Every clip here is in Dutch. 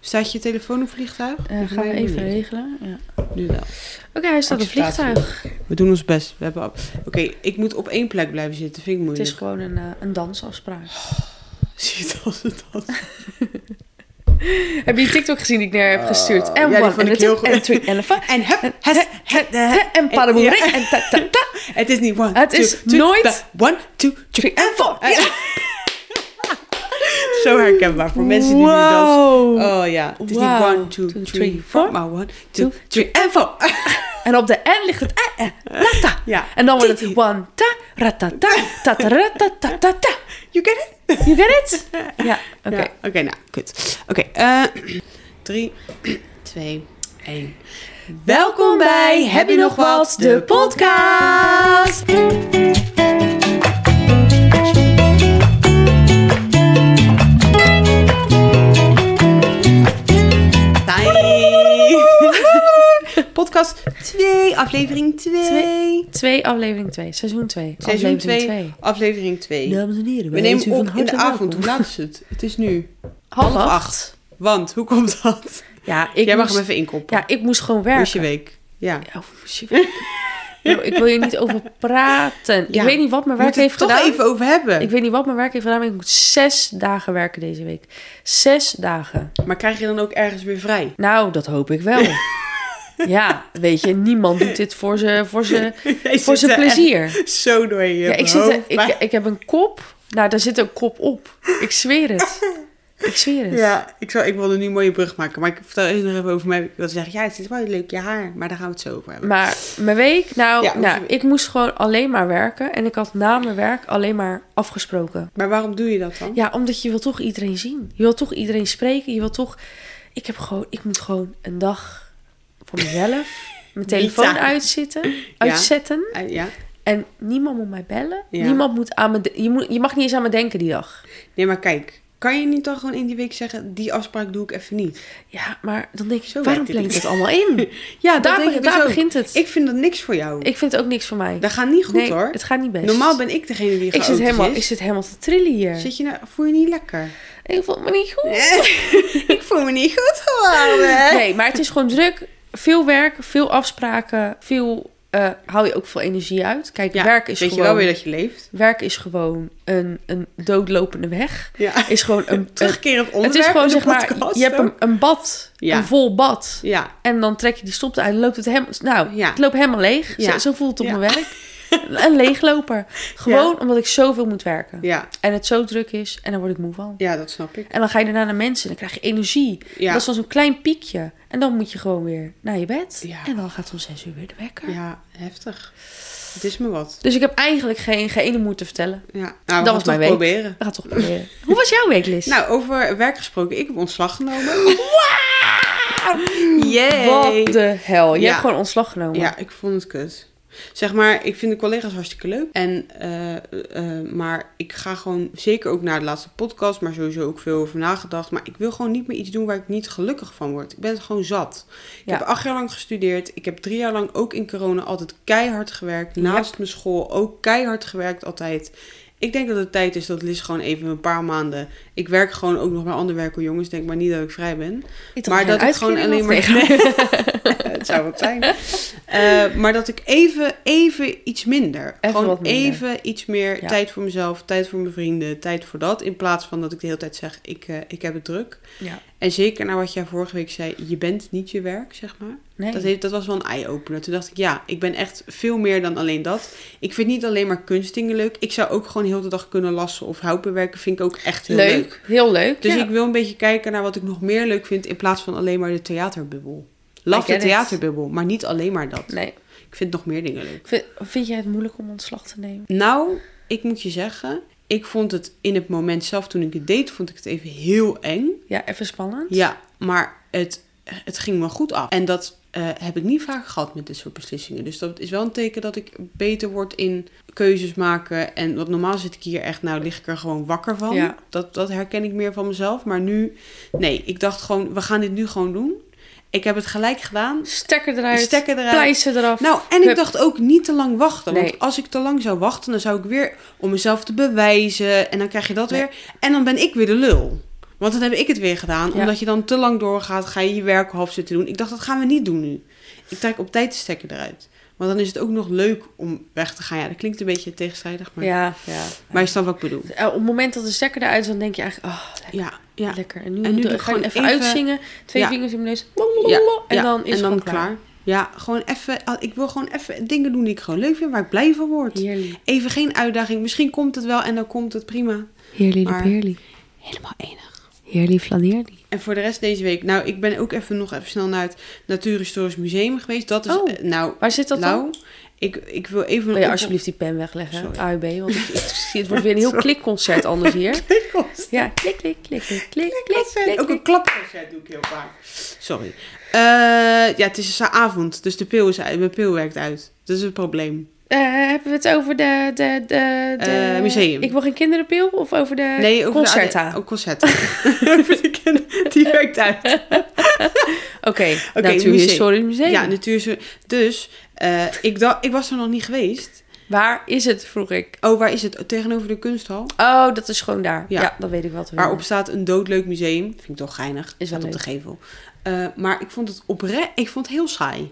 Staat je telefoon op vliegtuig? Eh, Volgens gaan we mij nog even niet. regelen. Ja. Nu wel. Oké, hij staat op Acceptatie. vliegtuig. We doen ons best. We hebben... ab- Oké, ik moet op één plek blijven zitten. Vind ik Het moeilijk. is gewoon een, eh, een dansafspraak. Shit, als het dat. Heb je die TikTok gezien die ik naar heb gestuurd? En Ah, ja, die one, vond en ik two, heel goed. en three, en four, En hup, has, het, en- en paddenboer, Ja. en ta, ta, ta, het is niet one, Het two, is three, nooit- but One, two, three. three, en four. Eh, Zo herkenbaar voor mensen die nu dansen. Wow. Oh ja, het is Wow. niet one, two, three, four, maar one, two, three en four. En op de N ligt het e, e, la, ta. Ja, En dan wordt Titi. het one, ta, ratata, tataratatata. you get it? You get it? Ja, oké. Ja, Oké, nou, kut. Oké, eh, drie, twee, één. Welkom bij Heb je nog wat? De podcast. Hi. Podcast 2, aflevering 2. Twee, aflevering 2, seizoen 2. Seizoen 2, aflevering 2. Dames en heren, We nemen op in de avond. Hoe laat is het? Het is nu. Half half acht. Want, hoe komt dat? Ja, ik Jij mag moest- hem even inkoppen. Ja, ik moest gewoon Hoe werken. is je week? Ja. Ja, hoe moest je werken? Nou, ik wil hier niet over praten. Ja. Ik weet niet wat mijn Waar het werk heeft toch gedaan. even over hebben. Ik weet niet wat mijn werk heeft gedaan, maar ik moet zes dagen werken deze week. Zes dagen. Maar krijg je dan ook ergens weer vrij? Nou, dat hoop ik wel. ja, weet je, niemand doet dit voor zijn voor ze- Jij voor zit zijn er plezier. echt Zo door je Ja, ik, zit, hoofd, er- ik, maar- ik heb een kop. Nou, daar zit een kop op. Ik zweer het. Ik zweer het. Ja, ik, zou, ik wilde nu een mooie brug maken. Maar ik vertel eerst nog even over mij. Ik wil zeggen, ja, het zit wel leuk je haar. Maar daar gaan we het zo over hebben. Maar mijn week, nou, Ja, hoe is je nou week? ik moest gewoon alleen maar werken. En ik had na mijn werk alleen maar afgesproken. Maar waarom doe je dat dan? Ja, omdat je wil toch iedereen zien. Je wil toch iedereen spreken. Je wil toch... Ik, heb gewoon, ik moet gewoon een dag voor mezelf... mijn telefoon Niet aan. uitzitten, uitzetten. Eh, ja. En niemand moet mij bellen. Ja. Niemand moet aan me... de- Je, moet, je mag niet eens aan me denken die dag. Nee, maar kijk. Kan je niet dan gewoon in die week zeggen, die afspraak doe ik even niet? Ja, maar dan denk ik, Zo waarom werkt het plan ik niet. dat allemaal in? Ja, dat daar denk be- ik daar dus ook. begint het. Ik vind dat niks voor jou. Ik vind het ook niks voor mij. Dat gaat niet goed nee, hoor. het gaat niet best. Normaal ben ik degene die ik zit, chaotisch helemaal, is. ik zit helemaal te trillen hier. Zit je nou, voel je niet lekker? Ik voel me niet goed. ik voel me niet goed geworden. Nee, maar het is gewoon druk. Veel werk, veel afspraken, veel... eh hou je ook veel energie uit. Kijk, Ja, werk is Weet gewoon... je wel weer dat je leeft? Werk is gewoon een, een doodlopende weg. Ja. Is gewoon een, een- Terugkerend onderwerp het is gewoon in de zeg maar, podcast je hebt ook. een, een bad, Ja. een vol bad. Ja, En dan trek je die stop en loopt het helemaal, nou, Ja. het loopt helemaal leeg. Zo- Ja. Zo, voelt het op Ja. mijn werk. Een leegloper. Gewoon omdat ik zoveel moet werken. ja, En het zo druk is en dan word ik moe van. ja, dat snap ik. En dan ga je daarna naar mensen en dan krijg je energie. Ja. Dat is dan zo'n klein piekje. En dan moet je gewoon weer naar je bed. Ja. En dan gaat om zes uur weer de wekker. Ja, heftig. Het is me wat. Dus ik heb eigenlijk geen, geen ene moed te vertellen. Ja, nou, we was gaan het toch mijn week. proberen. We gaan het toch proberen. Hoe was jouw week, Liz? Nou, over werk gesproken. Ik heb ontslag genomen. Yay! Wat de hel. Je Ja. hebt gewoon ontslag genomen. Ja, ik vond het kut. Zeg maar, ik vind de collega's hartstikke leuk. En, eh, eh, maar ik ga gewoon zeker ook naar de laatste podcast, maar sowieso ook veel over nagedacht. Maar ik wil gewoon niet meer iets doen waar ik niet gelukkig van word. Ik ben het gewoon zat. Ik Ja. heb acht jaar lang gestudeerd. Ik heb drie jaar lang ook in corona altijd keihard gewerkt. Naast mijn school ook keihard gewerkt altijd. Ik denk dat het tijd is dat Liz gewoon even een paar maanden... Ik werk gewoon ook nog bij ander werk, hoor, jongens. Denk maar niet dat ik vrij ben. Ik dacht Maar dat dat je een ik gewoon alleen uitkering maar... had. Nee. het zou wat zijn. Eh, maar dat ik even, even iets minder. Even gewoon wat minder. even iets meer Ja. tijd voor mezelf, tijd voor mijn vrienden, tijd voor dat. In plaats van dat ik de hele tijd zeg, ik, eh, ik heb het druk. Ja. En zeker naar wat jij vorige week zei, je bent niet je werk, zeg maar. Nee. Dat, heeft, dat was wel een eye-opener. Toen dacht ik, ja, ik ben echt veel meer dan alleen dat. Ik vind niet alleen maar kunstdingen leuk. Ik zou ook gewoon heel de dag kunnen lassen of hout bewerken. Vind ik ook echt heel leuk. leuk. Heel leuk. Dus ja. ik wil een beetje kijken naar wat ik nog meer leuk vind in plaats van alleen maar de theaterbubbel. Love get de it. theaterbubbel, maar niet alleen maar dat. Nee. Ik vind nog meer dingen leuk. Vind, vind jij het moeilijk om ontslag te nemen? Nou, ik moet je zeggen, ik vond het in het moment zelf toen ik het deed, vond ik het even heel eng. Ja, even spannend. Ja, maar het, het ging me goed af. En dat eh, heb ik niet vaak gehad met dit soort beslissingen. Dus dat is wel een teken dat ik beter word in keuzes maken. En wat normaal zit ik hier echt, nou lig ik er gewoon wakker van. Ja. Dat, dat herken ik meer van mezelf. Maar nu, nee, ik dacht gewoon, we gaan dit nu gewoon doen. Ik heb het gelijk gedaan. Stekker eruit. Stekker eruit. Pleister eraf. Nou, en ik Hup. dacht ook niet te lang wachten. Nee. Want als ik te lang zou wachten, dan zou ik weer om mezelf te bewijzen. En dan krijg je dat Nee. weer. En dan ben ik weer de lul. Want dan heb ik het weer gedaan. Ja. Omdat je dan te lang doorgaat, ga je je werk half zitten doen. Ik dacht, dat gaan we niet doen nu. Ik trek op tijd de stekker eruit. Want dan is het ook nog leuk om weg te gaan. Ja, dat klinkt een beetje tegenstrijdig, maar, Ja, ja. maar je snapt wat ik bedoel. Eh, Op het moment dat de stekker eruit is, dan denk je eigenlijk, oh, lekker. Ja, ja. lekker. En nu, En nu doe- doe ik ga ik gewoon even, even- uitzingen, twee Ja. vingers in mijn neus, Ja, en ja, dan is en het dan gewoon klaar. klaar. Ja, gewoon even. ah, Ik wil gewoon even dingen doen die ik gewoon leuk vind, waar ik blij van word. Heerlijk. Even geen uitdaging. Misschien komt het wel en dan komt het prima. Heerlijk, Maar- heerlijk. Helemaal enig. Heerlijk flaneerlijk. En voor de rest deze week. Nou, ik ben ook even nog even snel naar het Natuurhistorisch Museum geweest. Dat is. Oh, eh, nou, Waar zit dat Lau, dan? Ik, ik wil even. Wil je op- alsjeblieft die pen wegleggen, Sorry. AUB, want het, het- het wordt weer een heel klikconcert anders hier. Ja, klik, klik, klik, klik, klik, klik, klik, Ook een klik. klapconcert doe ik heel vaak. Sorry. Eh, ja, het is een avond, dus de pil is uit. Mijn pil werkt uit. Dat is een probleem. Eh, hebben we het over de... de, de, de Eh, museum. Ik wil geen kinderenpil of over de Nee, over de- concerta? Ook concerta. Over de kinderen, Die werkt uit. Oké, Oké, Natuurhistorisch Museum. Ja, natuurlijk. Dus eh, ik, dacht, ik was er nog niet geweest. Waar is het, vroeg ik. Oh, waar is het? Tegenover de kunsthal. Oh, dat is gewoon daar. Ja, Ja. dat weet ik wel te Waarop staat een doodleuk museum. Vind ik toch geinig. Is wel Staat op de leuk. gevel. Eh, maar ik vond het oprecht. Ik vond het heel saai.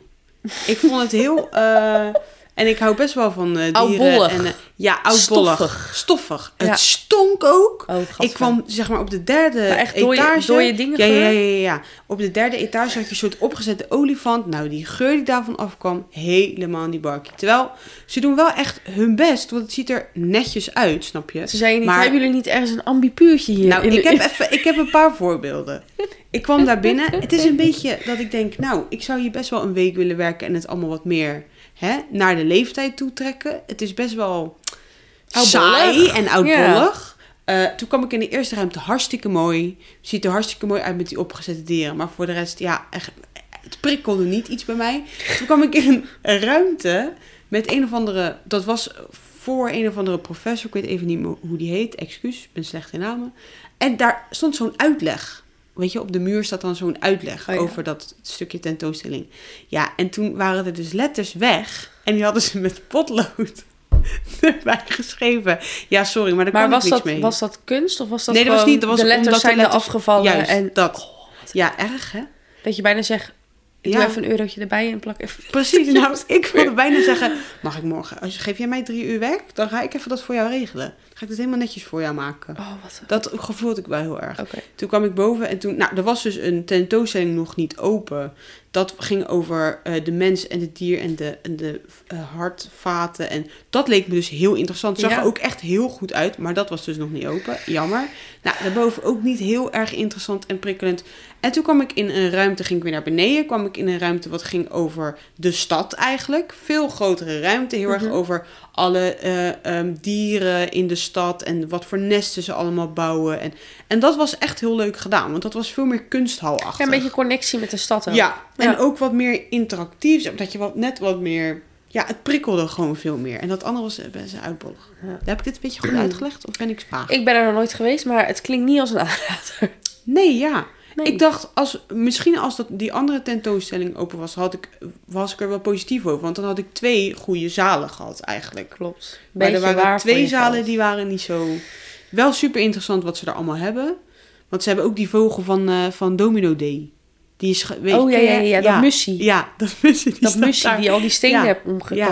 Ik vond het heel. eh, en ik hou best wel van eh dieren. Oudbollig. En, eh, ja, oudbollig. Stoffig. Ja. Het stonk ook. Oh, gadver. Ik kwam zeg maar op de derde Maar echt dode- etage. dode dingen ja, ja, ja, geur? ja, ja. Op de derde etage had je een soort opgezette olifant. Nou, die geur die daarvan afkwam, helemaal niet barkie. Terwijl ze doen wel echt hun best, want het ziet er netjes uit, snap je? Ze zeiden niet, Maar- hebben jullie niet ergens een ambipuurtje hier? Nou, in de- ik heb, even, ik heb een paar voorbeelden. Ik kwam daar binnen. Het is een beetje dat ik denk, nou, ik zou hier best wel een week willen werken en het allemaal wat meer hè, naar de leeftijd toe trekken. Het is best wel saai Oudbollig. en oudbollig. Eh, toen kwam ik in de eerste ruimte hartstikke mooi. Ziet er hartstikke mooi uit met die opgezette dieren. Maar voor de rest, ja, echt, het prikkelde niet iets bij mij. Toen kwam ik in een ruimte met een of andere... Dat was voor een of andere professor. Ik weet even niet meer hoe die heet. Excuus, ik ben slecht in namen. En daar stond zo'n uitleg. Weet je, op de muur staat dan zo'n uitleg Oh ja. over dat stukje tentoonstelling. Ja, en toen waren er dus letters weg. En die hadden ze met potlood erbij geschreven. Ja, sorry, maar daar maar kan was ik niks dat, mee. was dat kunst of was dat Nee, dat was gewoon niet. Dat was de letters omdat de zijn er letters- afgevallen Juist, eh, en dat. ja, erg hè? dat je bijna zegt, ik Ja. doe even een eurotje erbij en plak even... Precies, nou, ik wilde bijna zeggen, mag ik morgen, als, geef jij mij drie uur werk, dan ga ik even dat voor jou regelen. Dan ga ik dat helemaal netjes voor jou maken. Oh, wat een- Dat gevoel had ik wel heel erg. Oké. Toen kwam ik boven en toen, nou, er was dus een tentoonstelling nog niet open. Dat ging over eh, de mens en het dier en de, en de eh, hartvaten. En dat leek me dus heel interessant. Zag Ja. er ook echt heel goed uit, maar dat was dus nog niet open. Jammer. Nou, daarboven ook niet heel erg interessant en prikkelend. En toen kwam ik in een ruimte, ging ik weer naar beneden. Kwam ik in een ruimte wat ging over de stad eigenlijk. Veel grotere ruimte, heel Mhm. erg over alle eh, ehm, dieren in de stad en wat voor nesten ze allemaal bouwen. En, en dat was echt heel leuk gedaan, want dat was veel meer kunsthalachtig. Ja, een beetje connectie met de stad ook. Ja, en Ja. ook wat meer interactief, omdat je wat, net wat meer... Ja, het prikkelde gewoon veel meer. En dat andere was eh, best uitbollig. Ja. Heb ik dit een beetje goed uitgelegd of ben ik vaag? Ik ben er nog nooit geweest, maar het klinkt niet als een aanrader. Nee, ja. Nee. Ik dacht, als, misschien als dat, die andere tentoonstelling open was, had ik, was ik er wel positief over. Want dan had ik twee goede zalen gehad eigenlijk. Klopt. Maar er Beetje waren waar voor twee je zalen geld. die waren niet zo... Wel super interessant wat ze er allemaal hebben. Want ze hebben ook die vogel van, eh, van Domino Day. Die is... ge- weet- Oh ja, ken ja, jij- ja, ja, dat mussie. Ja, dat mussie. Die dat staat mussie daar. die al die stenen Ja. hebt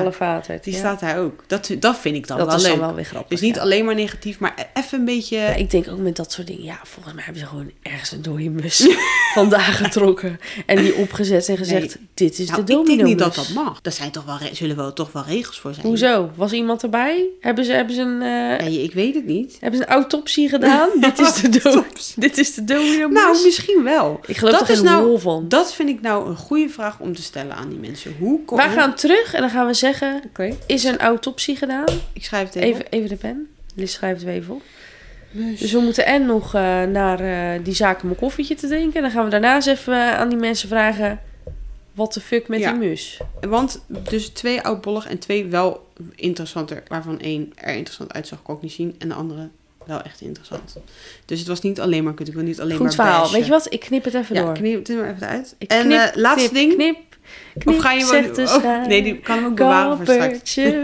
omgekalefaterd. Die Ja. staat daar ook. Dat, dat vind ik dan Dat wel is leuk. dan wel weer grappig. dus niet ja. alleen maar negatief, maar e- even een beetje... Ja, ik denk ook met dat soort dingen. Ja, volgens mij hebben ze gewoon ergens een dode mus vandaag getrokken. En die opgezet en gezegd, dit is Nou, de domino ik denk niet dat dat mag. Daar zijn toch wel, re- zullen wel toch wel regels voor zijn. Hoezo? Was iemand erbij? Hebben ze, hebben ze, een, eh, Nee, ik weet het niet. hebben ze een autopsie gedaan? dit, is de do- dit is de domino Nou, misschien wel. ik geloof dat er geen is nou- rol van. Dat vind ik nou een goede vraag om te stellen aan die mensen. Hoe kom Wij gaan terug en dan gaan we zeggen, Oké, is er een autopsie gedaan? ik schrijf het even. Even, even de pen. Liz schrijft het even op. Mus. Dus we moeten en nog eh, naar eh, die zaak om een koffietje te drinken. En dan gaan we daarna eens even eh, aan die mensen vragen... Wat de fuck met Ja. die mus? Want dus twee oudbollig en twee wel interessanter. Waarvan één er interessant uitzag, kon ik niet zien. En de andere wel echt interessant. Dus het was niet alleen maar kut. Ik wil niet alleen Goed maar verhaal. bashen. Weet je wat? Ik knip het even Ja, door. knip het er maar even uit. Ik en knip, eh, laatste knip, ding. Knip. Knip, of ga je zegt de wel... Oh, nee, die kan hem ook bewaren voor straks. Kappertje,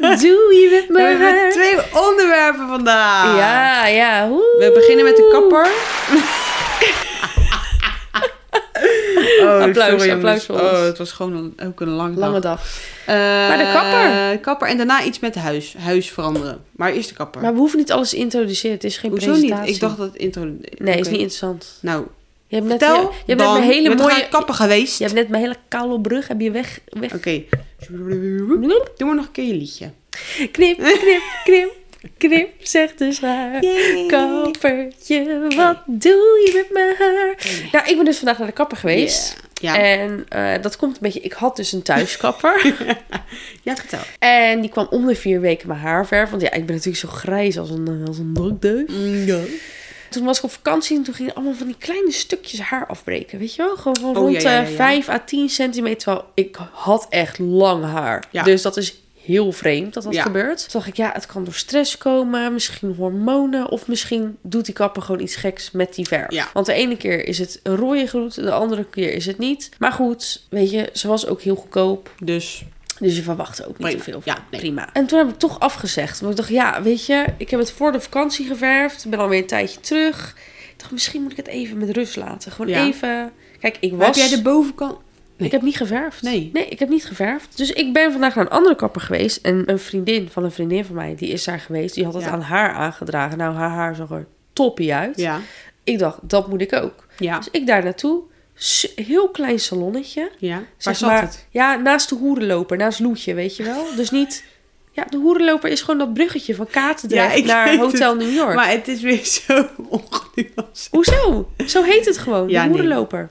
wat doe je met We mijn hebben haar? twee onderwerpen vandaag. Ja, ja. woe. We beginnen met de kapper. oh, Applaus, jongens. applaus voor ons. Oh, het was gewoon een- ook een lange, Lange dag. dag. Eh, Maar de kapper. kapper en daarna iets met huis. Huis veranderen. Maar eerst de kapper. Maar we hoeven niet alles te introduceren. Het is geen Hoezo niet? presentatie. Ik dacht dat het intro... Nee, Nee, is niet interessant. Nou, Je hebt net, vertel je, je hebt dan. net mijn hele je bent mooie... graag kapper geweest. Je hebt net mijn hele koude brug heb je weg... weg... Oké. Hm? Doe maar nog een keer je liedje. Knip, knip, knip, knip, zegt de schaar. Yay. Kappertje, wat doe je met mijn haar? Nou, ik ben dus vandaag naar de kapper geweest. Ja. Ja. En eh, dat komt een beetje... Ik had dus een thuiskapper. ja, vertel. en die kwam om de vier weken mijn haar verven. Want ja, ik ben natuurlijk zo grijs als een, eh, als een drukdeuk. ja. Toen was ik op vakantie en toen gingen allemaal van die kleine stukjes haar afbreken. Weet je wel? Gewoon van Oh, ja, rond ja, ja, ja. eh, 5 à 10 centimeter. Terwijl ik had echt lang haar. Ja. Dus dat is heel vreemd dat dat Ja. gebeurt. Toen dacht ik, ja, het kan door stress komen. Misschien hormonen. Of misschien doet die kapper gewoon iets geks met die verf. Ja. Want de ene keer is het een rode gloed. De andere keer is het niet. Maar goed, weet je, ze was ook heel goedkoop. Dus, Dus je verwacht ook niet Prima. te veel. Ja, van. nee. prima. En toen heb ik toch afgezegd. Want ik dacht, ja, weet je, ik heb het voor de vakantie geverfd. Ben alweer een tijdje terug. Ik dacht, misschien moet ik het even met rust laten. Gewoon Ja. even. Kijk, ik was. heb jij de bovenkant... Nee. Ik heb niet geverfd. Nee. Nee, ik heb niet geverfd. Dus ik ben vandaag naar een andere kapper geweest. En een vriendin van een vriendin van mij, die is daar geweest. Die had het Ja. aan haar aangedragen. Nou, haar haar zag er toppie uit. Ja. Ik dacht, dat moet ik ook. Ja. Dus ik daar naartoe. S- Heel klein salonnetje. Ja. Waar Zeg zat maar, het? Ja, naast de hoerenloper, naast Loetje, weet je wel. Dus niet... Ja, de hoerenloper is gewoon dat bruggetje van Ja, Katendrecht ik naar weet Hotel New York. Maar het is weer zo ongenuanceerd. Hoezo? Zo heet het gewoon, Ja, de nee. hoerenloper.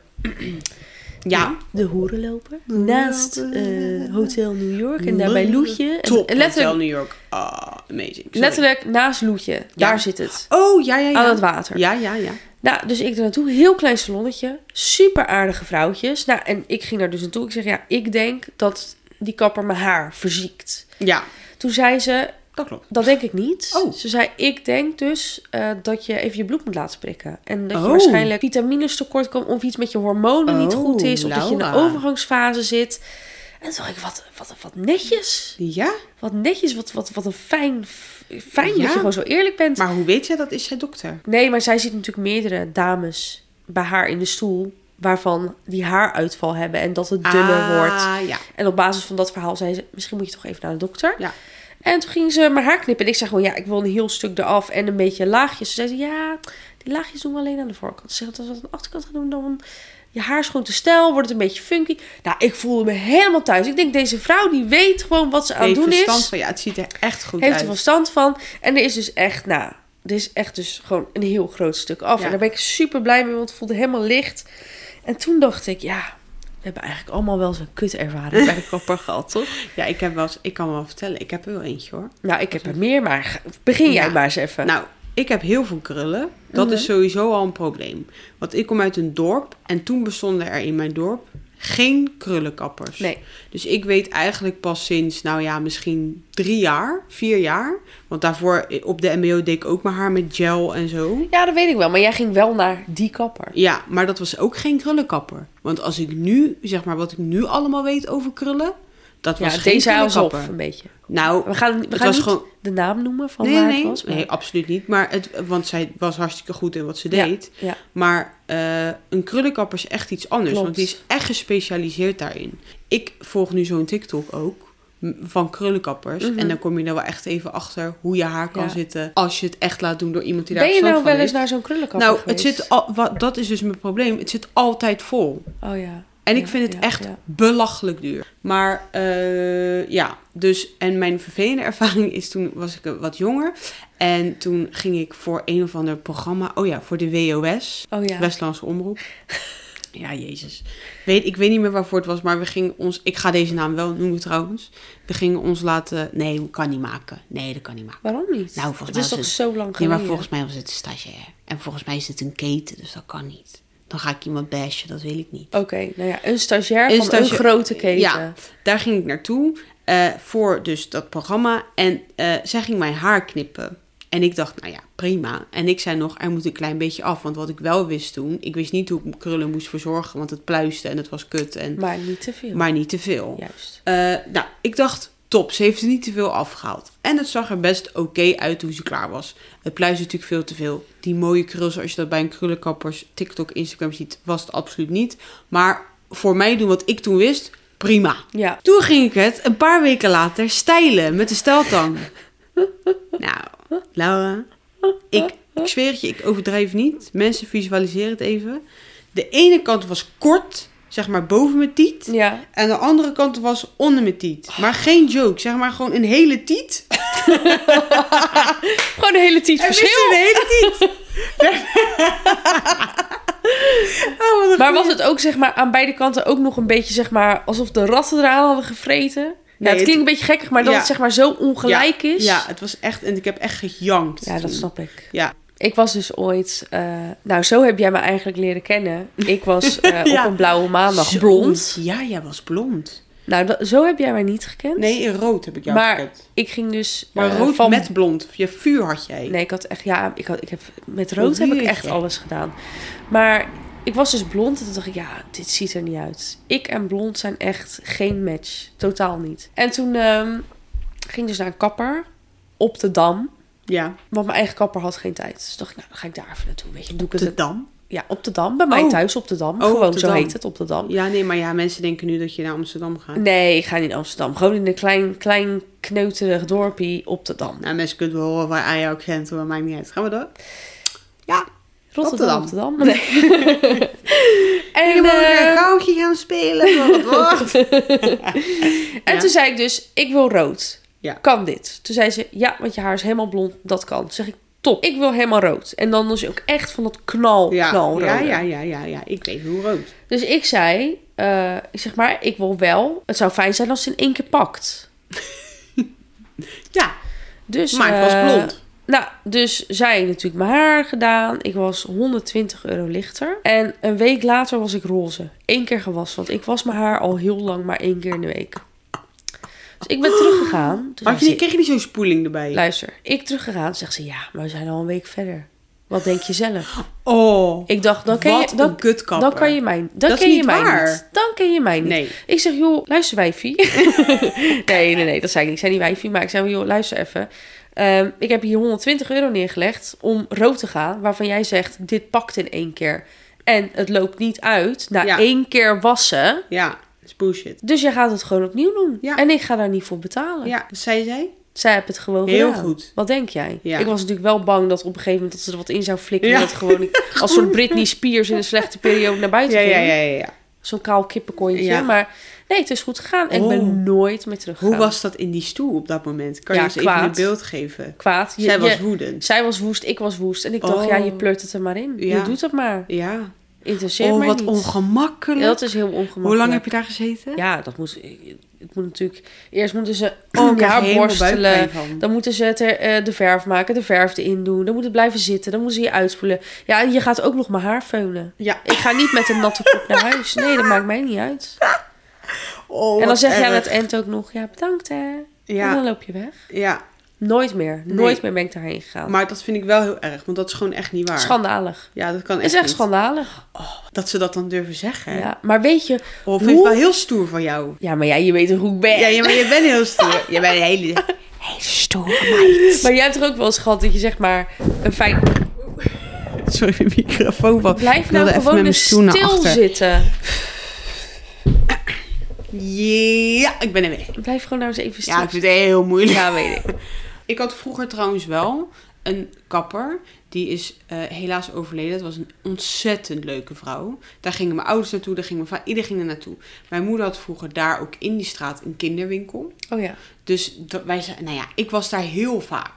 Ja. De hoerenloper. hoerenloper. Naast eh, Hotel New York en daarbij Loetje. En- Mm. Top. En Hotel letterlijk, New York. Ah, amazing. Sorry. letterlijk naast Loetje. Daar zit het. Oh, ja, ja, ja. Aan het water. Ja, ja, ja. Nou, dus ik er naartoe. Heel klein salonnetje. Super aardige vrouwtjes. Nou, en ik ging daar dus naartoe. Ik zeg, ja, ik denk dat die kapper mijn haar verziekt. Ja, Toen zei ze, dat klopt. Dat denk ik niet. Oh. Ze zei, ik denk dus eh, dat je even je bloed moet laten prikken. En dat je Oh. waarschijnlijk vitamines tekort komt... of iets met je hormonen niet Oh, goed is... of dat je in Laura. een overgangsfase zit. En toen dacht ik, wat, wat, wat netjes. Ja? Wat netjes, wat, wat, wat een fijn... f- Fijn Ja. dat je gewoon zo eerlijk bent. Maar hoe weet jij dat? Is zij dokter? Nee, maar zij ziet natuurlijk meerdere dames bij haar in de stoel... waarvan die haaruitval hebben en dat het dunner wordt. Ah, ja. En op basis van dat verhaal zei ze: Misschien moet je toch even naar de dokter. Ja. En toen ging ze mijn haar knippen. En ik zei gewoon: Ja, ik wil een heel stuk eraf en een beetje laagjes. Toen zei ze: Ja, die laagjes doen we alleen aan de voorkant. Ze zegt: Als we dat aan de achterkant gaan doen, dan. Je haar is gewoon te stijl, wordt het een beetje funky. Nou, ik voelde me helemaal thuis. Ik denk, deze vrouw die weet gewoon wat ze aan het Heeft doen verstand is. van, ja, het ziet er echt goed Heeft uit. er verstand van. En er is dus echt, nou, er is echt dus gewoon een heel groot stuk af. Ja. En daar ben ik super blij mee, want het voelde helemaal licht. En toen dacht ik, ja, we hebben eigenlijk allemaal wel zo'n kut ervaring bij de kapper gehad, toch? Ja, ik, heb wel eens, ik kan wel vertellen, ik heb er wel eentje hoor. Nou, ik heb er meer, maar ga- begin jij Ja. maar eens even. Nou, ik heb heel veel krullen. Dat is sowieso al een probleem. Want ik kom uit een dorp en toen bestonden er in mijn dorp geen krullenkappers. nee. Dus ik weet eigenlijk pas sinds, nou ja, misschien drie jaar, vier jaar. Want daarvoor eh, op de MBO deed ik ook mijn haar met gel en zo. Ja, dat weet ik wel, maar jij ging wel naar die kapper. Ja, maar dat was ook geen krullenkapper. Want als ik nu, zeg maar, wat ik nu allemaal weet over krullen, dat was Ja, geen deze hou eens op, krullenkapper. een beetje. Nou, We gaan, we Het gaan was niet gewoon- de naam noemen van nee, waar nee, het was. maar- nee, absoluut niet. Maar het, want zij was hartstikke goed in wat ze Ja. deed. ja. Maar eh, een krullenkapper is echt iets anders. Klopt. Want die is echt gespecialiseerd daarin. Ik volg nu zo'n TikTok ook m- van krullenkappers. Mhm. En dan kom je er wel echt even achter hoe je haar kan Ja. zitten. Als je het echt laat doen door iemand die daar Ben je nou verstand wel van heeft. eens naar zo'n krullenkapper Nou, het geweest? zit al, wat, dat is dus mijn probleem. Het zit altijd vol. Oh ja. En ik Ja, vind het ja, echt ja. belachelijk duur. Maar eh, ja, dus. En mijn vervelende ervaring is toen was ik wat jonger. En toen ging ik voor een of ander programma. Oh ja, voor de WOS. Oh ja. Westlandse Omroep. Ja, jezus. Weet, ik weet niet meer waarvoor het was, maar we gingen ons... Ik ga deze naam wel noemen trouwens. We gingen ons laten... Nee, kan niet maken. Nee, dat kan niet maken. Waarom niet? Nou, volgens mij het is was toch het- zo lang Nee, geleden. maar volgens mij was het een stagiair. En volgens mij is het een keten, dus dat kan niet. Dan ga ik iemand bashen, dat wil ik niet. Oké, nou ja, een stagiair Een van stagia- een grote keten. Ja. Daar ging ik naartoe eh, voor dus dat programma. En eh, zij ging mijn haar knippen. En ik dacht, nou ja, prima. En ik zei nog, er moet een klein beetje af. Want wat ik wel wist toen, ik wist niet hoe ik mijn krullen moest verzorgen. Want het pluiste en het was kut. En, Maar niet te veel. maar niet te veel. Juist. Eh, nou, ik dacht, top, ze heeft er niet te veel afgehaald. En het zag er best oké uit hoe ze klaar was. Het pluis is natuurlijk veel te veel. Die mooie kruls, als je dat bij een krullenkappers TikTok, Instagram ziet, was het absoluut niet. Maar voor mij doen wat ik toen wist, prima. Ja. Toen ging ik het een paar weken later stijlen met de stijltang. nou, Laura, ik, ik zweer het je, ik overdrijf niet. Mensen visualiseren het even. De ene kant was kort, zeg maar boven mijn tiet. Ja. En de andere kant was onder mijn Oh. tiet. Maar geen joke, zeg maar gewoon een hele tiet. Gewoon een hele tiet Er is verschil. een hele tiet. oh, wat een Maar was het ook zeg maar aan beide kanten ook nog een beetje zeg maar alsof de ratten eraan hadden gevreten? ja, het het- klinkt een beetje gekkig, maar dat Ja. het zeg maar zo ongelijk ja, is. Ja, het was echt, en ik heb echt gejankt. Ja, dat toen. snap ik. Ja, Ik was dus ooit, eh, nou zo heb jij me eigenlijk leren kennen. Ik was eh, Ja. op een blauwe maandag Zo. blond. Ja, jij was blond. Nou, dat- zo heb jij mij niet gekend. Nee, in rood heb ik jou maar gekend. ik ging dus Maar eh, rood van met blond. Je vuur had jij. Nee, ik had echt, ja, ik had, ik heb, met rood heb ik Oh, Jeetje. echt alles gedaan. Maar ik was dus blond en toen dacht ik, ja, dit ziet er niet uit. Ik en blond zijn echt geen match. Totaal niet. En toen ehm, ging ik dus naar een kapper op de Dam. Ja, Want mijn eigen kapper had geen tijd. Dus dacht ik, nou, dan ga ik daar even naartoe. Weet je, doe ik het. de dam. Ja, op de Dam. Bij mij Oh. thuis op de Dam. Oh, op Gewoon, de zo Dam. heet het, op de Dam. Ja, nee, maar ja, mensen denken nu dat je naar Amsterdam gaat. Nee, ik ga niet in Amsterdam. Gewoon in een klein, klein kneuterig dorpje op de Dam. Nou, mensen kunnen wel horen waar Ajax kent, maar maakt niet uit. Gaan we door? Ja. Rotterdam, Rotterdam. Rotterdam. Nee. en En eh, een goudje gaan spelen. maar wat wordt. En Ja. toen zei ik dus, ik wil rood. Ja. Kan dit? Toen zei ze, ja, want je haar is helemaal blond, dat kan. Toen zeg ik, top, ik wil helemaal rood. En dan dus ook echt van dat knal, Ja. knalrode. ja, ja, ja, ja, ja. Ik weet hoe rood. Dus ik zei, eh, ik zeg maar, ik wil wel. Het zou fijn zijn als ze in één keer pakt. Ja, Dus, maar ik was eh, blond. Nou, dus zij natuurlijk mijn haar gedaan. Ik was 120 euro lichter. En een week later was ik roze. Eén keer gewassen, want ik was mijn haar al heel lang maar één keer in de week. Dus ik ben teruggegaan. Toen zei Had je, ze, niet- kreeg je niet zo'n spoeling erbij? Luister, ik teruggegaan, zegt ze ja, maar we zijn al een week verder. Wat denk je zelf? Oh. Ik dacht, dan ken Wat je, dan, een kutkapper. dan kan je mij, dan Dat is ken je niet mij waar. niet. Dan ken je mij niet. Nee. Ik zeg, joh, luister wijfie. nee, nee, nee, dat zei ik niet. Ik zei niet wijfie, maar ik zei, joh, luister even. Ehm, ik heb hier 120 euro neergelegd om rood te gaan, waarvan jij zegt, dit pakt in één keer. En het loopt niet uit na Ja. één keer wassen. Ja, dat is bullshit. Dus jij gaat het gewoon opnieuw doen. Ja. En ik ga daar niet voor betalen. Ja, zei zij? Zij hebben het gewoon Heel Oh. gedaan. goed. Wat denk jij? Ja. Ik was natuurlijk wel bang dat op een gegeven moment dat ze er wat in zou flikken. Ja. Dat het gewoon niet- als soort Britney Spears in een slechte periode naar buiten Ja, ging. ja, ja, ja. ja. Zo'n kaal kippenkontje. Ja. Maar nee, het is goed gegaan. En ik ben Oh. nooit meer teruggegaan. Hoe was dat in die stoel op dat moment? Kan Ja, je eens kwaad. even een beeld geven? kwaad? Je- Zij je- was woedend. zij was woest, ik was woest. En ik dacht, Oh. ja, je pleurt het er maar in. Je Ja. doet het maar. Ja. Interesseer Oh, mij wat niet. ongemakkelijk. Ja, dat is heel ongemakkelijk. Hoe lang heb je daar gezeten? Ja, dat moet... Het moet natuurlijk... Eerst moeten ze Oh, ik je krijg haar helemaal borstelen. buikpijn van. Dan moeten ze het er, eh, de verf maken, de verf erin doen. Dan moet het blijven zitten, dan moeten ze je uitspoelen. Ja, en je gaat ook nog mijn haar feunen. Ja. Ik ga niet met een natte kop naar huis. Nee, dat maakt mij niet uit. Oh, en dan wat zeg jij aan erg. het eind ook nog, ja, bedankt hè. En dan Ja, loop je weg. ja, Nooit meer. Nee. Nooit meer ben ik daarheen gegaan. maar dat vind ik wel heel erg, want dat is gewoon echt niet waar. Schandalig. Ja, dat kan Het echt, is echt niet. schandalig. Dat ze dat dan durven zeggen. Ja, maar weet je... Oh, vind ik Hoe? wel heel stoer van jou. Ja, maar jij, je weet hoe ik ben. Ja, ja, maar je bent heel stoer. je bent een hele... Maar jij hebt er ook wel eens gehad dat je zeg maar een fijn... Sorry, mijn microfoon van. Blijf nou gewoon eens stil zitten. Ja, ik ben er weer. Blijf gewoon nou eens even stil Ja, ik vind het heel moeilijk. Ja, weet ik. Ik had vroeger trouwens wel een kapper. Die is eh, helaas overleden. Het was een ontzettend leuke vrouw. Daar gingen mijn ouders naartoe, daar ging mijn vader, iedereen ging er naartoe. Mijn moeder had vroeger daar ook in die straat een kinderwinkel. Oh ja. Dus dat, wij zijn, nou ja, ik was daar heel vaak.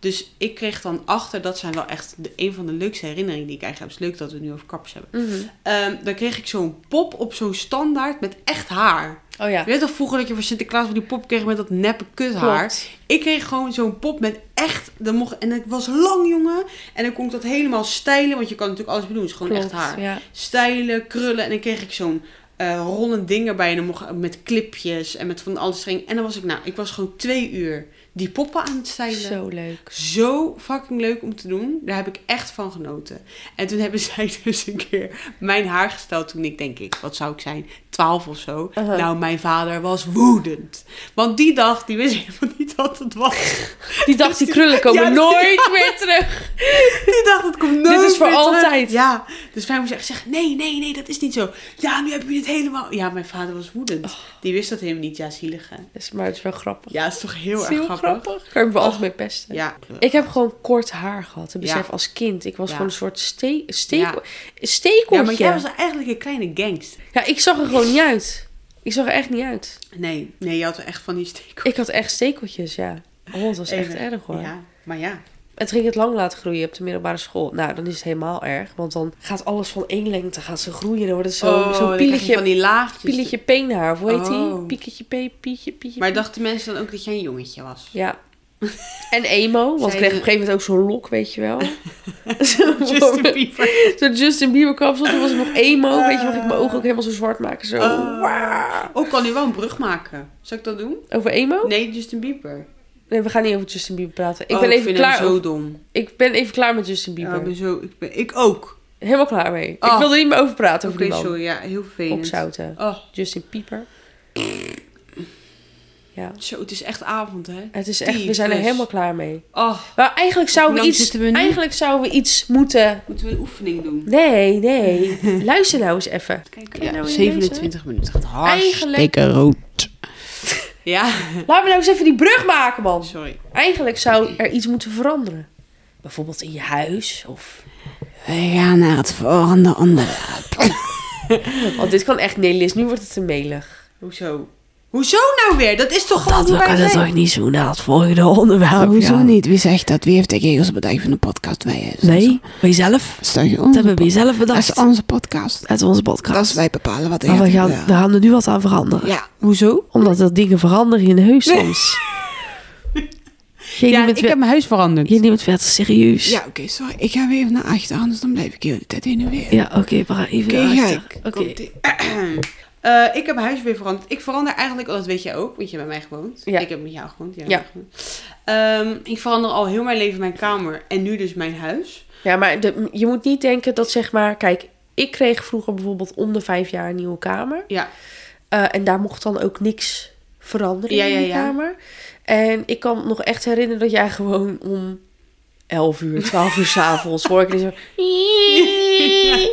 Dus ik kreeg dan achter, dat zijn wel echt de, een van de leukste herinneringen die ik eigenlijk heb. Het is leuk dat we het nu over kappers hebben. Mhm. Ehm, dan kreeg ik zo'n pop op zo'n standaard met echt haar. Oh ja. Je weet toch vroeger dat je voor Sinterklaas van die pop kreeg met dat neppe kuthaar? Klopt. Ik kreeg gewoon zo'n pop met echt... Dan mocht, en het was lang, jongen. En dan kon ik dat helemaal stijlen. Want je kan natuurlijk alles bedoelen. Het is gewoon Klopt, echt haar. Ja. Stijlen, krullen. En dan kreeg ik zo'n eh rollend ding erbij. En dan mocht met clipjes en met van alles streng. En dan was ik, nou, ik was gewoon twee uur, die poppen aan het stylen. Zo. Zo leuk. fucking leuk om te doen. Daar heb ik echt van genoten. En toen hebben zij dus een keer mijn haar gesteld. Toen ik denk ik, wat zou ik zijn? 12 of zo. Uh-huh. Nou, mijn vader was woedend. Want die dag, die wist helemaal niet wat het was. Die dacht, die krullen komen Ja, nooit meer terug. Die dacht, het komt nooit is voor meer terug. altijd. Ja, dus wij moesten echt zeggen, nee, nee, nee, dat is niet zo. Ja, nu heb je het helemaal... Ja, mijn vader was woedend. Oh. Die wist dat helemaal niet. Ja, zielige. Dus, maar het is wel grappig. Ja, is toch Het heel is erg grappig. Kan ik me altijd mee pesten. Ja. Ik heb gewoon kort haar gehad. Ik Ja. besef als kind. Ik was Ja. gewoon een soort ste Ja. steek steekhoortje. ja, maar ja, jij was eigenlijk een kleine gangster. ik zag er gewoon niet uit. Ik zag er echt niet uit. Nee, nee, je had wel echt van die steek. Ik had echt stekeltjes, ja. Oh, dat was echt erg hoor. Ja, maar ja. Het ging het lang laten groeien op de middelbare school. Nou, dan is het helemaal erg. Want dan gaat alles van één lengte gaat ze groeien. Dan wordt het zo'n Oh, zo'n dan krijg je pieletje, van die laagjes. pieletje peenhaar. Of hoe heet die? Oh. Pieketje, pe, pietje, pietje. Maar dachten mensen dan ook dat jij een jongetje was? Ja. En emo. Want Zij ik kreeg op de- een gegeven moment ook zo'n lok, weet je wel. Justin Bieber. Zo'n Justin Bieber kapsel, toen was ik nog emo. Ah. Weet je, mag ik mijn ogen ook helemaal zo zwart maken. Zo. Oh. Waa. Oh, ik kan nu wel een brug maken. Zal ik dat doen? Over emo? Nee, Justin Bieber. Nee, we gaan niet over Justin Bieber praten. Ik, Oh, ben, even vind klaar hem zo over- dom. ik ben even klaar met Justin Ja, Bieber. ik ben zo... Ik, ben, ik ook. Helemaal klaar mee. Ik Oh. wil er niet meer over praten, Oké, over die man. sorry. Ja, heel vervelend. Opzouten. Oh, Justin Bieber. Ja. zo, het is echt avond, hè? Het is echt, we zijn er Tyfus. helemaal klaar mee. Oh, Maar eigenlijk zouden we, lang iets, zitten we nu? eigenlijk zouden we iets moeten... moeten we een oefening doen? Nee, nee. Luister nou eens even. Kijk, Kun je nou weer minuten. Het gaat Eigenlijk- rood. Ja, Laat me nou eens even die brug maken, man. sorry. Eigenlijk zou er iets moeten veranderen. Bijvoorbeeld in je huis. Of... We gaan naar het volgende onderwerp. Want dit kan echt... Nee, Liz, nu wordt het te melig. Hoezo? Hoezo nou weer? Dat is toch gewoon hoe wij leven? niet zo naar het volgende onderwerp. Oh, Hoezo niet? Wie zegt dat? Wie heeft de regels bedacht van de podcast? Wij is. Nee, wij zelf. Dat is, toch onze Dat hebben wij podcast? zelf dat bedacht. is onze podcast. Dat is onze Dat is podcast. wij bepalen wat er Maar we gaat gaan, we gebeuren. gaan er nu wat aan veranderen. Ja, hoezo? Omdat er dingen veranderen in heus soms. Geen Ja, niemand, ik heb mijn huis veranderd. niemand werd serieus. Ja, oké, sorry. Ik ga weer even naar achter, anders dan blijf ik heel de tijd heen en weer. Ja, oké, maar even Oké, naar kijk. achter. Oké. Komt-ie. Eh, ik heb mijn huis weer veranderd. Ik verander eigenlijk, oh, dat weet jij ook, want je hebt bij mij gewoond. Ja. Ik heb met jou gewoond. jij Ja. hebt met mij gewoond. Ehm, ik verander al heel mijn leven mijn kamer en nu dus mijn huis. Ja, maar de- je moet niet denken dat zeg maar... Kijk, ik kreeg vroeger bijvoorbeeld om de vijf jaar een nieuwe kamer. Ja. Eh, en daar mocht dan ook niks veranderen Ja, in ja, die ja. kamer. En ik kan me nog echt herinneren dat jij gewoon om 11 uur, 12 uur s'avonds hoor ik en zo.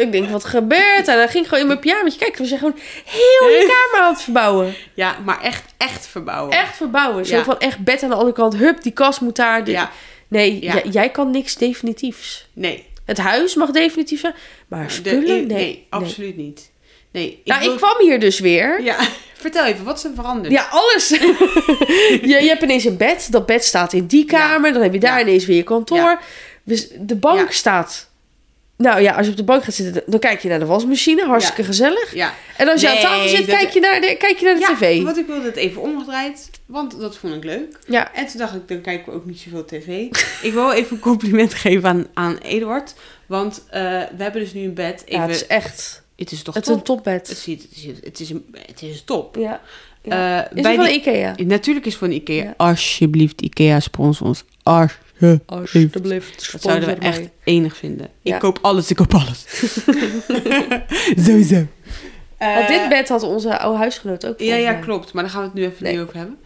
Ik denk, wat gebeurt er? Dan ging ik gewoon in mijn pyjamaatje kijken. We zijn gewoon heel je kamer aan het verbouwen. Ja, maar echt, echt verbouwen. Echt verbouwen. Zo Ja. van echt bed aan de andere kant. Hup, die kast moet daar. die- Ja. Nee, Ja. j- jij kan niks definitiefs. Nee. Het huis mag definitief zijn, maar De- spullen? nee, nee, absoluut niet. Nee. Ik Nou, wil- ik kwam hier dus weer. Ja, vertel even, wat is er veranderd? Ja, alles. je, je hebt ineens een bed. Dat bed staat in die kamer. Dan heb je daar Ja. ineens weer je kantoor. Ja. Dus de bank Ja. staat... Nou ja, als je op de bank gaat zitten, dan kijk je naar de wasmachine. Hartstikke gezellig. Ja. En als je aan Nee, tafel zit, dat- kijk je naar de, kijk je naar de ja, tv. want ik wilde het even omgedraaid, want dat vond ik leuk. Ja. En toen dacht ik, dan kijken we ook niet zoveel tv. ik wil even een compliment geven aan, aan Eduard, want eh, we hebben dus nu een bed. Even, ja, het is echt... het is toch Het is top? een topbed. Het, ziet, het, is, het, is, een- het is top. ja. Eh, Is bij het van die- Ikea? Natuurlijk is het van Ikea. Ja. Alsjeblieft, Ikea sponsor ons. Alsjeblieft. Alsjeblieft. Dat zouden we sponsor echt mij. enig vinden. Ja. Ik koop alles, ik koop alles. Sowieso. Want Eh, Oh, dit bed had onze oude huisgenoot ook Ja, volgens ja, mij. klopt. Maar daar gaan we het nu even Nee. niet over hebben.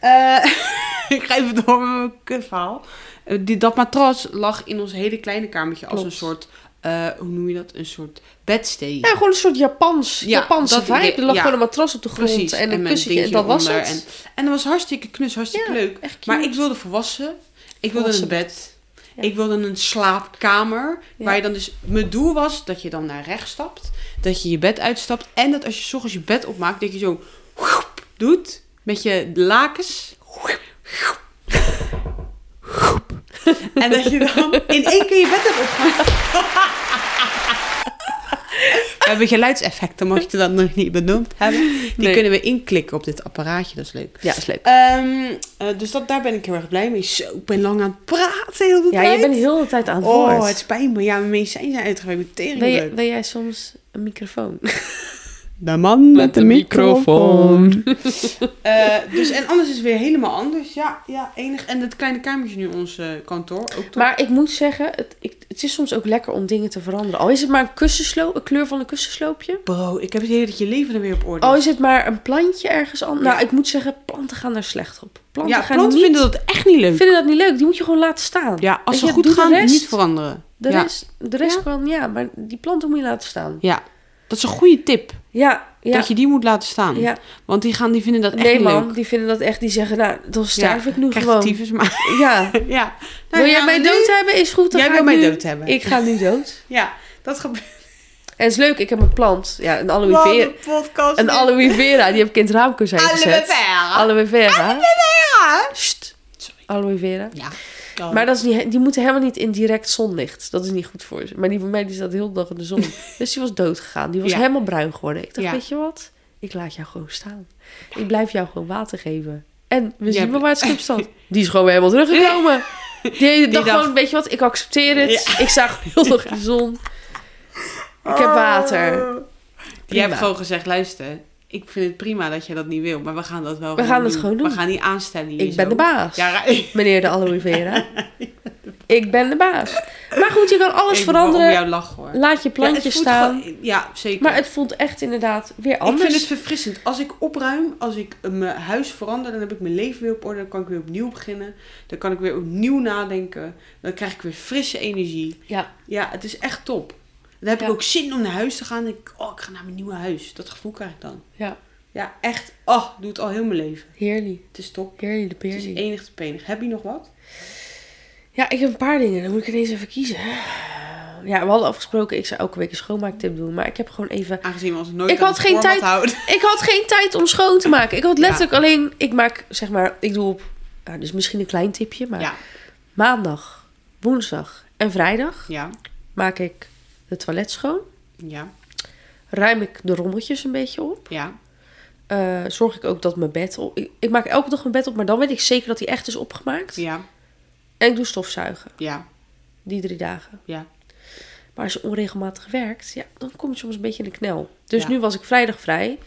Eh, ik ga even door met mijn kutverhaal. Eh, die, dat matras lag in ons hele kleine kamertje als Klopt. een soort, eh, hoe noem je dat? Een soort bedstee. Ja, gewoon een soort Japans, Ja, Japanse dat vibe. idee, Er lag ja. gewoon een matras op de grond Precies. en een met kussentje. En dingetje dat was onder. het. En, en dat was hartstikke knus, hartstikke Ja, leuk. echt Maar cute. ik wilde volwassen. Ik wilde Volwassen een bed. Ja. Ik wilde een slaapkamer. Ja. Waar je dan dus... Mijn doel was dat je dan naar rechts stapt. Dat je je bed uitstapt. En dat als je 's ochtends je bed opmaakt, dat je zo... whoep doet. Met je lakens. Whoep, whoep, whoep. En dat je dan in één keer je bed hebt opgemaakt. We hebben geluidseffecten, mocht je dat nog niet benoemd hebben. Die Nee. kunnen we inklikken op dit apparaatje, dat is leuk. Ja, is leuk. Ehm, eh, dus dat, daar ben ik heel erg blij mee. Zo, ik ben lang aan het praten heel de Ja, tijd. je bent heel de tijd aan het woord. Oh, het spijt me. Ja, mijn medicijnen zijn uitgewerkt. Tering Wil, je- leuk. wil jij soms een microfoon? De man met, de, microfoon. Eh, dus, en anders is het weer helemaal anders. Ja, ja, enig. En het kleine kamertje nu ons eh, kantoor. Ook toch? Maar ik moet zeggen, het, ik, het is soms ook lekker om dingen te veranderen. Al is het maar een kussensloop, een kleur van een kussensloopje. Bro, ik heb het idee dat je leven er weer op orde Al is. is het maar een plantje ergens anders. Ja. Nou, ik moet zeggen, planten gaan daar slecht op. Planten ja, gaan planten niet, vinden dat echt niet leuk. vinden dat niet leuk. Die moet je gewoon laten staan. Ja, als Weet ze je, goed doe de gaan, rest. niet veranderen. De ja. rest, de rest Ja. kan, ja, maar die planten moet je laten staan. ja, dat is een goede tip. Ja, ja. Dat je die moet laten staan. ja. Want die, gaan, die vinden dat echt Nee niet man, leuk. die vinden dat echt, die zeggen, nou, dan sterf ik nu Krijg gewoon. tyfus, maar... Ja. ja. Nou, Wil jij gaan mij we dood nu- hebben? Is goed, dan Jij wil ga ik mij nu- dood hebben. Ik ga nu dood. Ja, dat gebeurt. En het is leuk, ik heb een plant. Ja, een aloe Wat vera. een podcast. Een aloe vera, die heb ik in het raamkuss heen Aloe gezet. vera. Aloe vera. Ja. Sst. Aloe vera. Ja. Maar dat is niet, die moeten helemaal niet in direct zonlicht. Dat is niet goed voor ze. Maar die van mij die zat heel de dag in de zon. dus die was dood gegaan. Die was Ja. helemaal bruin geworden. Ik dacht, Ja. weet je wat? Ik laat jou gewoon staan. Ik blijf jou gewoon water geven. En we Jij zien wel bl- waar het schip staat. Die is gewoon weer helemaal teruggekomen. Die hele dag dacht- gewoon, weet je wat? Ik accepteer het. Ik zag heel de dag in de zon. Ik heb water. Je Ah. hebt Prima. gewoon gezegd, luister, ik vind het prima dat je dat niet wil, maar we gaan dat wel We gaan het gewoon doen. We gaan niet aanstellen hier Ik ben zo. de baas. Ja, ra- Meneer de aloe vera. Ik ben de baas. Maar goed, je kan alles ik veranderen. Om jouw lach hoor. Laat je plantjes Ja, het voelt staan. gewoon- ja, zeker. Maar het voelt echt inderdaad weer anders. Ik vind het verfrissend. Als ik opruim, als ik eh, mijn huis verander, dan heb ik mijn leven weer op orde. Dan kan ik weer opnieuw beginnen. Dan kan ik weer opnieuw nadenken. Dan krijg ik weer frisse energie. Ja, Ja, het is echt top. Dan heb Ja. ik ook zin om naar huis te gaan. Dan denk ik, oh, ik ga naar mijn nieuwe huis. Dat gevoel krijg ik dan. ja. Ja, echt. Oh, doe het al heel mijn leven. Heerlijk. Het is top. Heerlijk de Het is peerlie. enig te penig. Heb je nog wat? Ja, ik heb een paar dingen. Dan moet ik ineens even kiezen. Ja, we hadden afgesproken, ik zou elke week een schoonmaaktip doen. Maar ik heb gewoon even... Aangezien we ons nooit Ik aan had het geen format tijd. houden. Ik had geen tijd om schoon te maken. Ik had letterlijk alleen... Ik maak, zeg maar, ik doe op... Nou, dus misschien een klein tipje, maar... Ja, Maandag, woensdag en vrijdag ja, maak ik het toilet schoon. ja, Ruim ik de rommeltjes een beetje op. ja. Eh, zorg ik ook dat mijn bed op... Ik, ik maak elke dag mijn bed op, maar dan weet ik zeker dat hij echt is opgemaakt. Ja, En ik doe stofzuigen. ja, Die drie dagen. ja. Maar als je onregelmatig werkt, ja, dan kom je soms een beetje in de knel. Dus Ja. nu was ik vrijdag vrij.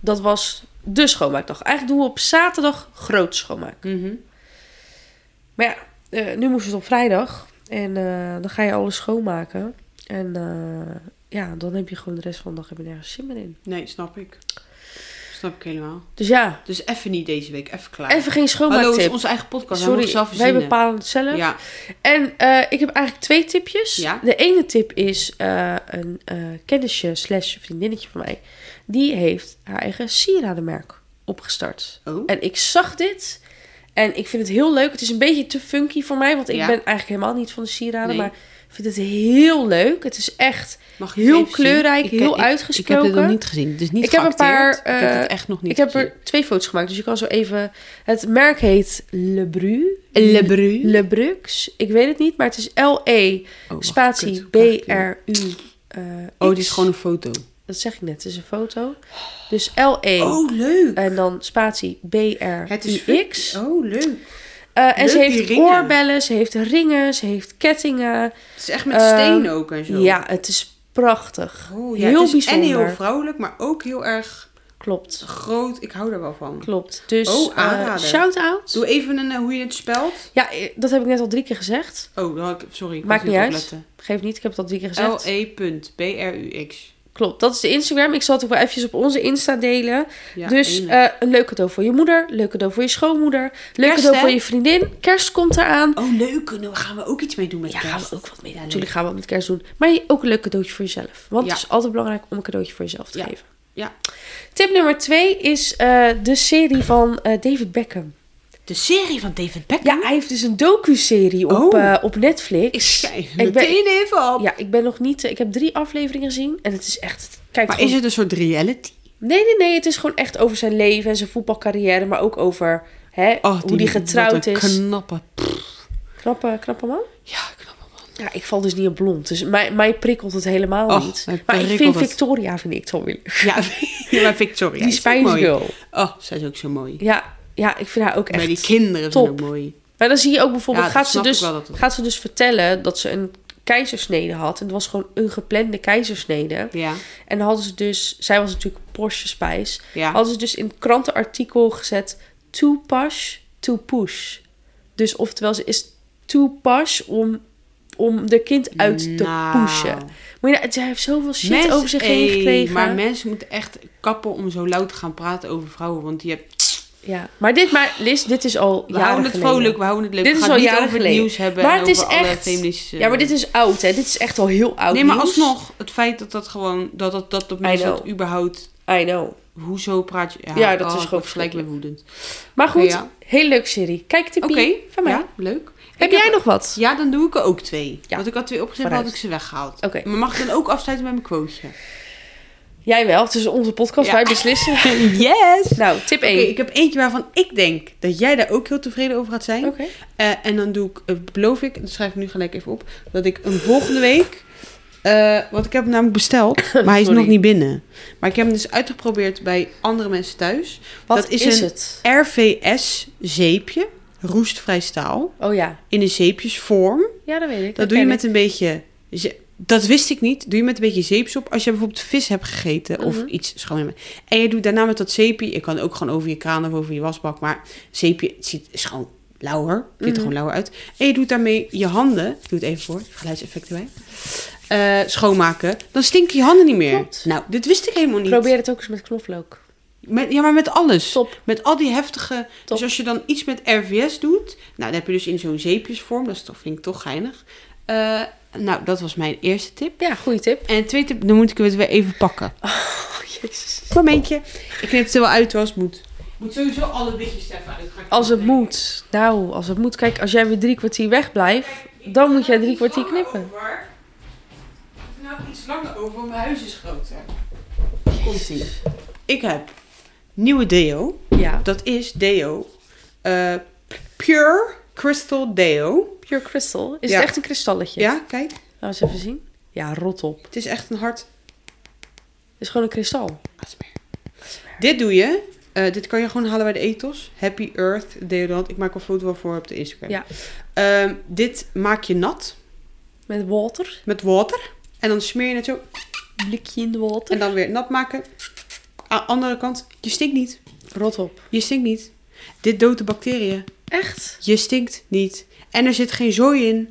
Dat was de schoonmaakdag. Eigenlijk doen we op zaterdag groot schoonmaak. Mhm. Maar ja, eh, nu moest het op vrijdag. En eh, dan ga je alles schoonmaken. En eh, ja, dan heb je gewoon de rest van de dag heb je nergens zin meer in. Nee, snap ik. Snap ik helemaal. Dus ja, Dus even niet deze week, even klaar. even geen Hallo, het is schoonmaaktip. onze eigen podcast. Sorry, we Sorry, zelf wij verzinnen. bepalen het zelf. Ja, En eh, ik heb eigenlijk twee tipjes. Ja. De ene tip is eh, een eh, kennisje slash vriendinnetje van mij. Die heeft haar eigen sieradenmerk opgestart. Oh. En ik zag dit. En ik vind het heel leuk. Het is een beetje te funky voor mij. Want ik Ja. ben eigenlijk helemaal niet van de sieraden. Nee. Maar ik vind het heel leuk. Het is echt... mag ik heel even zien? kleurrijk, Ik- heel ik- uitgesproken. Ik heb dit nog niet gezien. Het is niet Ik heb een geacteerd. paar, Ik heb het eh, echt nog niet ik heb gezien. er twee foto's gemaakt. Dus je kan zo even... Het merk heet Le Bru. Le Bru. Le Brux. Ik weet het niet. Maar het is L-E... Oh, wacht, Spatie kut, hoe krijg ik die? B-R-U. eh, Oh, X. dit is gewoon een foto. Dat zeg ik net, het is een foto. Dus L-E Oh, leuk. en dan spatie B-R-U-X. Het is fix. Oh, leuk. Eh, en leuk, ze die heeft ringen. oorbellen, ze heeft ringen, ze heeft kettingen. Het is echt met Eh, steen ook en zo. Ja, het is prachtig. Oh, ja, heel het is bijzonder. En heel vrouwelijk, maar ook heel erg Klopt, groot. Ik hou daar wel van. klopt. Dus Oh, eh, aanrader. shout-out. Doe even een, eh, hoe je het spelt. Ja, eh, dat heb ik net al drie keer gezegd. Oh, dan had ik- sorry. Ik Maakt kon niet het uit. Geef niet, ik heb het al drie keer gezegd. Oh, eh. opletten. L-E.B-R-U-X. Klopt, dat is de Instagram. Ik zal het ook wel eventjes op onze Insta delen. Ja, dus enig. eh, een leuk cadeau voor je moeder, leuk cadeau voor je schoonmoeder, leuk Kerst, cadeau hè? voor je vriendin. Kerst komt eraan. Oh, leuk. Daar gaan we ook iets mee doen met Ja, kerst. gaan we ook wat mee doen. Ja, Natuurlijk gaan we wat met kerst doen. Maar je- ook een leuk cadeautje voor jezelf. Want Ja. het is altijd belangrijk om een cadeautje voor jezelf te Ja. geven. Ja. Tip nummer twee is eh, de serie van eh, David Beckham. De serie van David Beckham. Ja, hij heeft dus een docu-serie op, Oh. eh, op Netflix. Schrijf ben- meteen even op. Ja, ik ben nog niet... eh, ik heb drie afleveringen gezien. En het is echt... Kijk, Maar is het een soort reality? Nee, nee, nee. Het is gewoon echt over zijn leven en zijn voetbalcarrière. Maar ook over hè, Oh, hoe die getrouwd wat een is. knappe... knappe, knappe man. Ja, knappe man. Ja, ik val dus niet op blond. Dus mij, mij prikkelt het helemaal Och, niet. mij Maar ik prikkelt vind het. Victoria vind ik toch weer Ja, ja, maar Victoria Die is ook Spice mooi. Girl. Oh, zij is ook zo mooi. Ja, ja, ik vind haar ook maar echt... die kinderen top. zijn ook mooi. Maar dan zie je ook bijvoorbeeld... Ja, dat gaat, ze snap ik dus, wel dat het- gaat ze dus vertellen dat ze een keizersnede had. En het was gewoon een geplande keizersnede. Ja. En dan hadden ze dus, zij was natuurlijk Porsche Spice. Ja. Hadden ze dus in het krantenartikel gezet to push, to push. Dus oftewel ze is to push om, om de kind uit te Nou. pushen. Moet je, nou- zij heeft zoveel shit Mensen- over zich heen Hey, gekregen. Maar mensen moeten echt kappen om zo luid te gaan praten over vrouwen. Want je hebt, ja. maar dit, maar Liz, dit is al we jaren houden het geleden. vrolijk, we houden het leuk. Dit we is gaan al het niet jaren over het geleden. nieuws hebben Maar en het is over alle echt- feministische... Ja, maar dit is oud, hè? Dit is echt al heel oud. Nee, maar nieuws. alsnog, het feit dat dat gewoon, dat dat, dat, dat mensen know. dat überhaupt... I know. Hoezo praat je... Ja, dat is ik gewoon word gelijk weer woedend. Maar goed, Ja. heel leuk serie. Kijk de Oké, van mij. ja, leuk. Heb jij nog wat? Ja, dan doe ik er ook twee. Ja. Want ik had twee opgezet, maar Vooruit. had ik ze weggehaald. Oké. Maar mag ik dan ook afsluiten met mijn quoteje? Jij wel, het is onze podcast, Ja. wij beslissen. Yes! Nou, tip Oké, 1. ik heb eentje waarvan ik denk dat jij daar ook heel tevreden over gaat zijn. Oké. Eh, en dan doe ik, eh, beloof ik, en dat schrijf ik nu gelijk even op, dat ik een volgende week. eh want ik heb hem namelijk besteld, maar hij is Sorry. nog niet binnen. Maar ik heb hem dus uitgeprobeerd bij andere mensen thuis. Wat dat is, is een- het? RVS zeepje, roestvrij staal, Oh ja. in een zeepjesvorm. Ja, dat weet ik. Dat doe je ken met een beetje. ze- Dat wist ik niet. Doe je met een beetje zeepsop. Als je bijvoorbeeld vis hebt gegeten of Mhm. iets schoon. En je doet daarna met dat zeepje. Je kan ook gewoon over je kraan of over je wasbak. Maar zeepje het ziet, is gewoon lauwer. Het ziet er Mhm. gewoon lauwer uit. En je doet daarmee je handen. Ik doe het even voor. Geluidseffect erbij. eh, schoonmaken. Dan stinken je handen niet meer. Klopt. Nou, dit wist ik helemaal ik. niet. Probeer het ook eens met knoflook. Met, ja, maar met alles. Top. Met al die heftige... Top. Dus als je dan iets met RVS doet... Nou, dat heb je dus in zo'n zeepjesvorm. Dat is toch, vind ik toch geinig. Eh, nou, dat was mijn eerste tip. Ja, goede tip. En de tweede tip, dan moet ik het weer even pakken. Oh, jezus. Momentje. Ik knip het er wel uit als het moet. Moet sowieso alle witjes even uit. Als het moet. Nou, als het moet. Kijk, als jij weer drie kwartier wegblijft, dan moet jij drie kwartier knippen. Nou, iets langer over, want mijn huis is groter. Komt ie. Ik heb nieuwe deo. Ja. Dat is deo. Eh, pure Crystal Deo. Pure crystal. Is Ja. het echt een kristalletje? Ja, kijk. Laten we eens even zien. Ja, rot op. Het is echt een hard... Het is gewoon een kristal. Dit doe je. Eh, dit kan je gewoon halen bij de ethos. Happy Earth deodorant. Ik maak een foto wel voor op de Instagram. Ja. Ehm, dit maak je nat Met water. met water. En dan smeer je het zo. Blikje in de water. En dan weer nat maken. Aan de andere kant. Je stinkt niet. Rot op. Je stinkt niet. Dit doodt de bacteriën. Echt? Je stinkt niet. En er zit geen zooi in.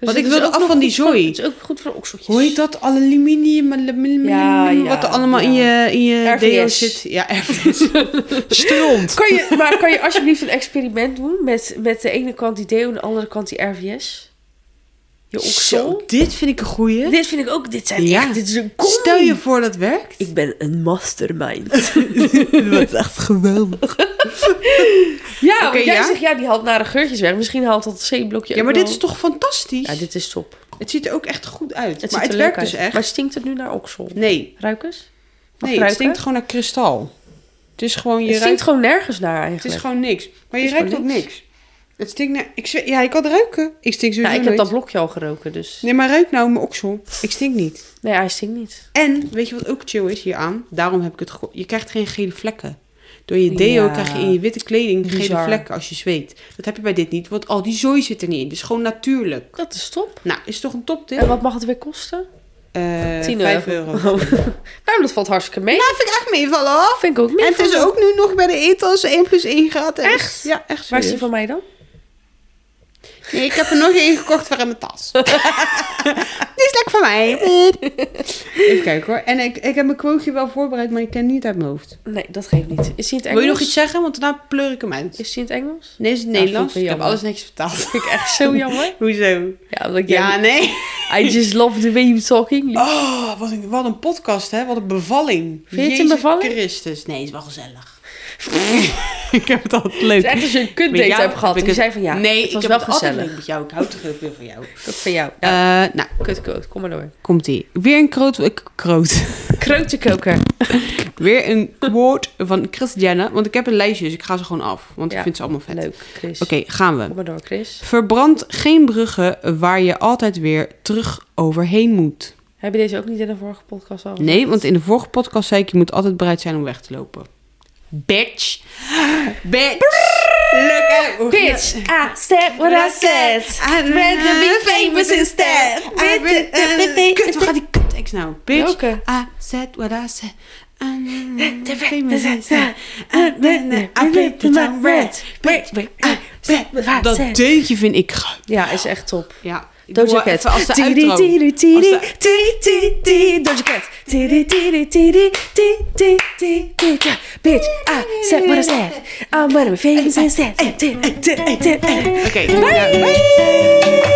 Dus ik het is wilde ook af nog van die goed voor- zooi. Het is ook goed voor okseltjes. Hoe heet dat? Aluminium, aluminium Ja, ja, wat er allemaal ja. in je, in je RVS. deo zit. Ja, RVS. Stront. Kan je, maar kan je alsjeblieft een experiment doen met, met de ene kant die deo en de andere kant die RVS? Je Zo, oksel? dit vind ik een goeie. Dit vind ik ook, dit zijn Ja. echt, dit is een combi. Stel je voor dat werkt. Ik ben een mastermind. Dat is echt geweldig. ja, want Oké, jij ja. zegt, ja, die haalt nare geurtjes weg. Misschien haalt dat C-blokje ja, ook maar dit wel- is toch fantastisch? Ja, dit is top. Het ziet er ook echt goed uit. Het maar ziet het er leuk werkt dus uit. echt. Maar stinkt het nu naar oksel? Nee, Ruik eens. Mag nee ruiken? het stinkt gewoon naar kristal. Het is gewoon, je Het stinkt ruikt, gewoon nergens naar eigenlijk. het is gewoon niks. Maar je Het is ruikt ook gewoon niks. Het stinkt naar... Ik zweer- ja, ik kan het ruiken. Ik stink sowieso Nou, ik heb dat nooit. blokje al geroken, dus... Nee, maar ruik nou mijn oksel. Ik stink niet. Nee, hij stinkt niet. En, weet je wat ook chill is hieraan? Daarom heb ik het geko- Je krijgt geen gele vlekken. Door je deo Ja. krijg je in je witte kleding gele Bizar. vlekken als je zweet. Dat heb je bij dit niet, want al die zooi zit er niet in. Het is gewoon natuurlijk. Dat is top. Nou, is toch een top tip? En wat mag het weer kosten? Eh, 10 5 euro. euro. Nou, dat valt hartstikke mee. Oh, Dat vind ik echt meevallen hoor. vind ik ook niet. En het is ook nu nog bij de ethos 1 plus 1 gratis. Echt? Ja, echt Waar is die serieus. van mij dan? Nee, ik heb er nog één gekocht voor in mijn tas. die is lekker van mij. Even kijken hoor. En ik, ik heb mijn quoteje wel voorbereid, maar ik ken het niet uit mijn hoofd. Nee, dat geeft niet. Is die in het Engels? Wil je nog iets zeggen? Want daarna pleur ik hem uit. Is die in het Engels? Nee, is het Ja, Nederlands? vind ik ik heb wel alles netjes vertaald. Vind ik echt zo jammer. Hoezo? Ja, omdat ik Ja, nee. I just love the way you talking. Oh, wat een, wat een podcast hè. Wat een bevalling. je het een bevalling? Christus. Nee, is wel gezellig. ik heb het altijd leuk. Het is echt als je een kutdate Met jou hebt gehad. heb ik en die het- zei van ja, nee, het was ik wel heb het altijd gezellig. leuk met jou. Ik hou toch heel veel van jou. Dat van jou. Ja, Eh, nou, kutkoot. Kom maar door. komt ie. Weer een kroot, eh, k- kroot. Kreutenkoker. Weer een quote van Christiane. Want ik heb een lijstje, dus ik ga ze gewoon af. Want Ja, ik vind ze allemaal vet. Oké, Leuk, Chris. gaan we. Kom maar door, Chris. Verbrand geen bruggen waar je altijd weer terug overheen moet. Heb je deze ook niet in de vorige podcast al? Nee, want in de vorige podcast zei ik, je moet altijd bereid zijn om weg te lopen. Bitch. Bitch. Look at Bitch, I said what I said. I'd rather be famous instead. Kut, waar gaat die kut nou? Bitch, Welke? I said what I said. I'm famous famous instead. instead. I'm I paint the town red. Wait, wait, I said what I Dat said. deuntje vind ik... ge- Ja, is echt top. Ja. ik doe Doja wel Cat. even Als de Tiri, uitro. tiri, Als tiri, de- tiri, tiri, tiri. Doja Cat. Tiri, tiri, tiri, tiri, tiri, tiri, tiri. Ja, Bitch, I said what I said. Eh, I'm one of my favorites instead. Tiri, tiri, tiri, tiri. Oké. ja. Bye.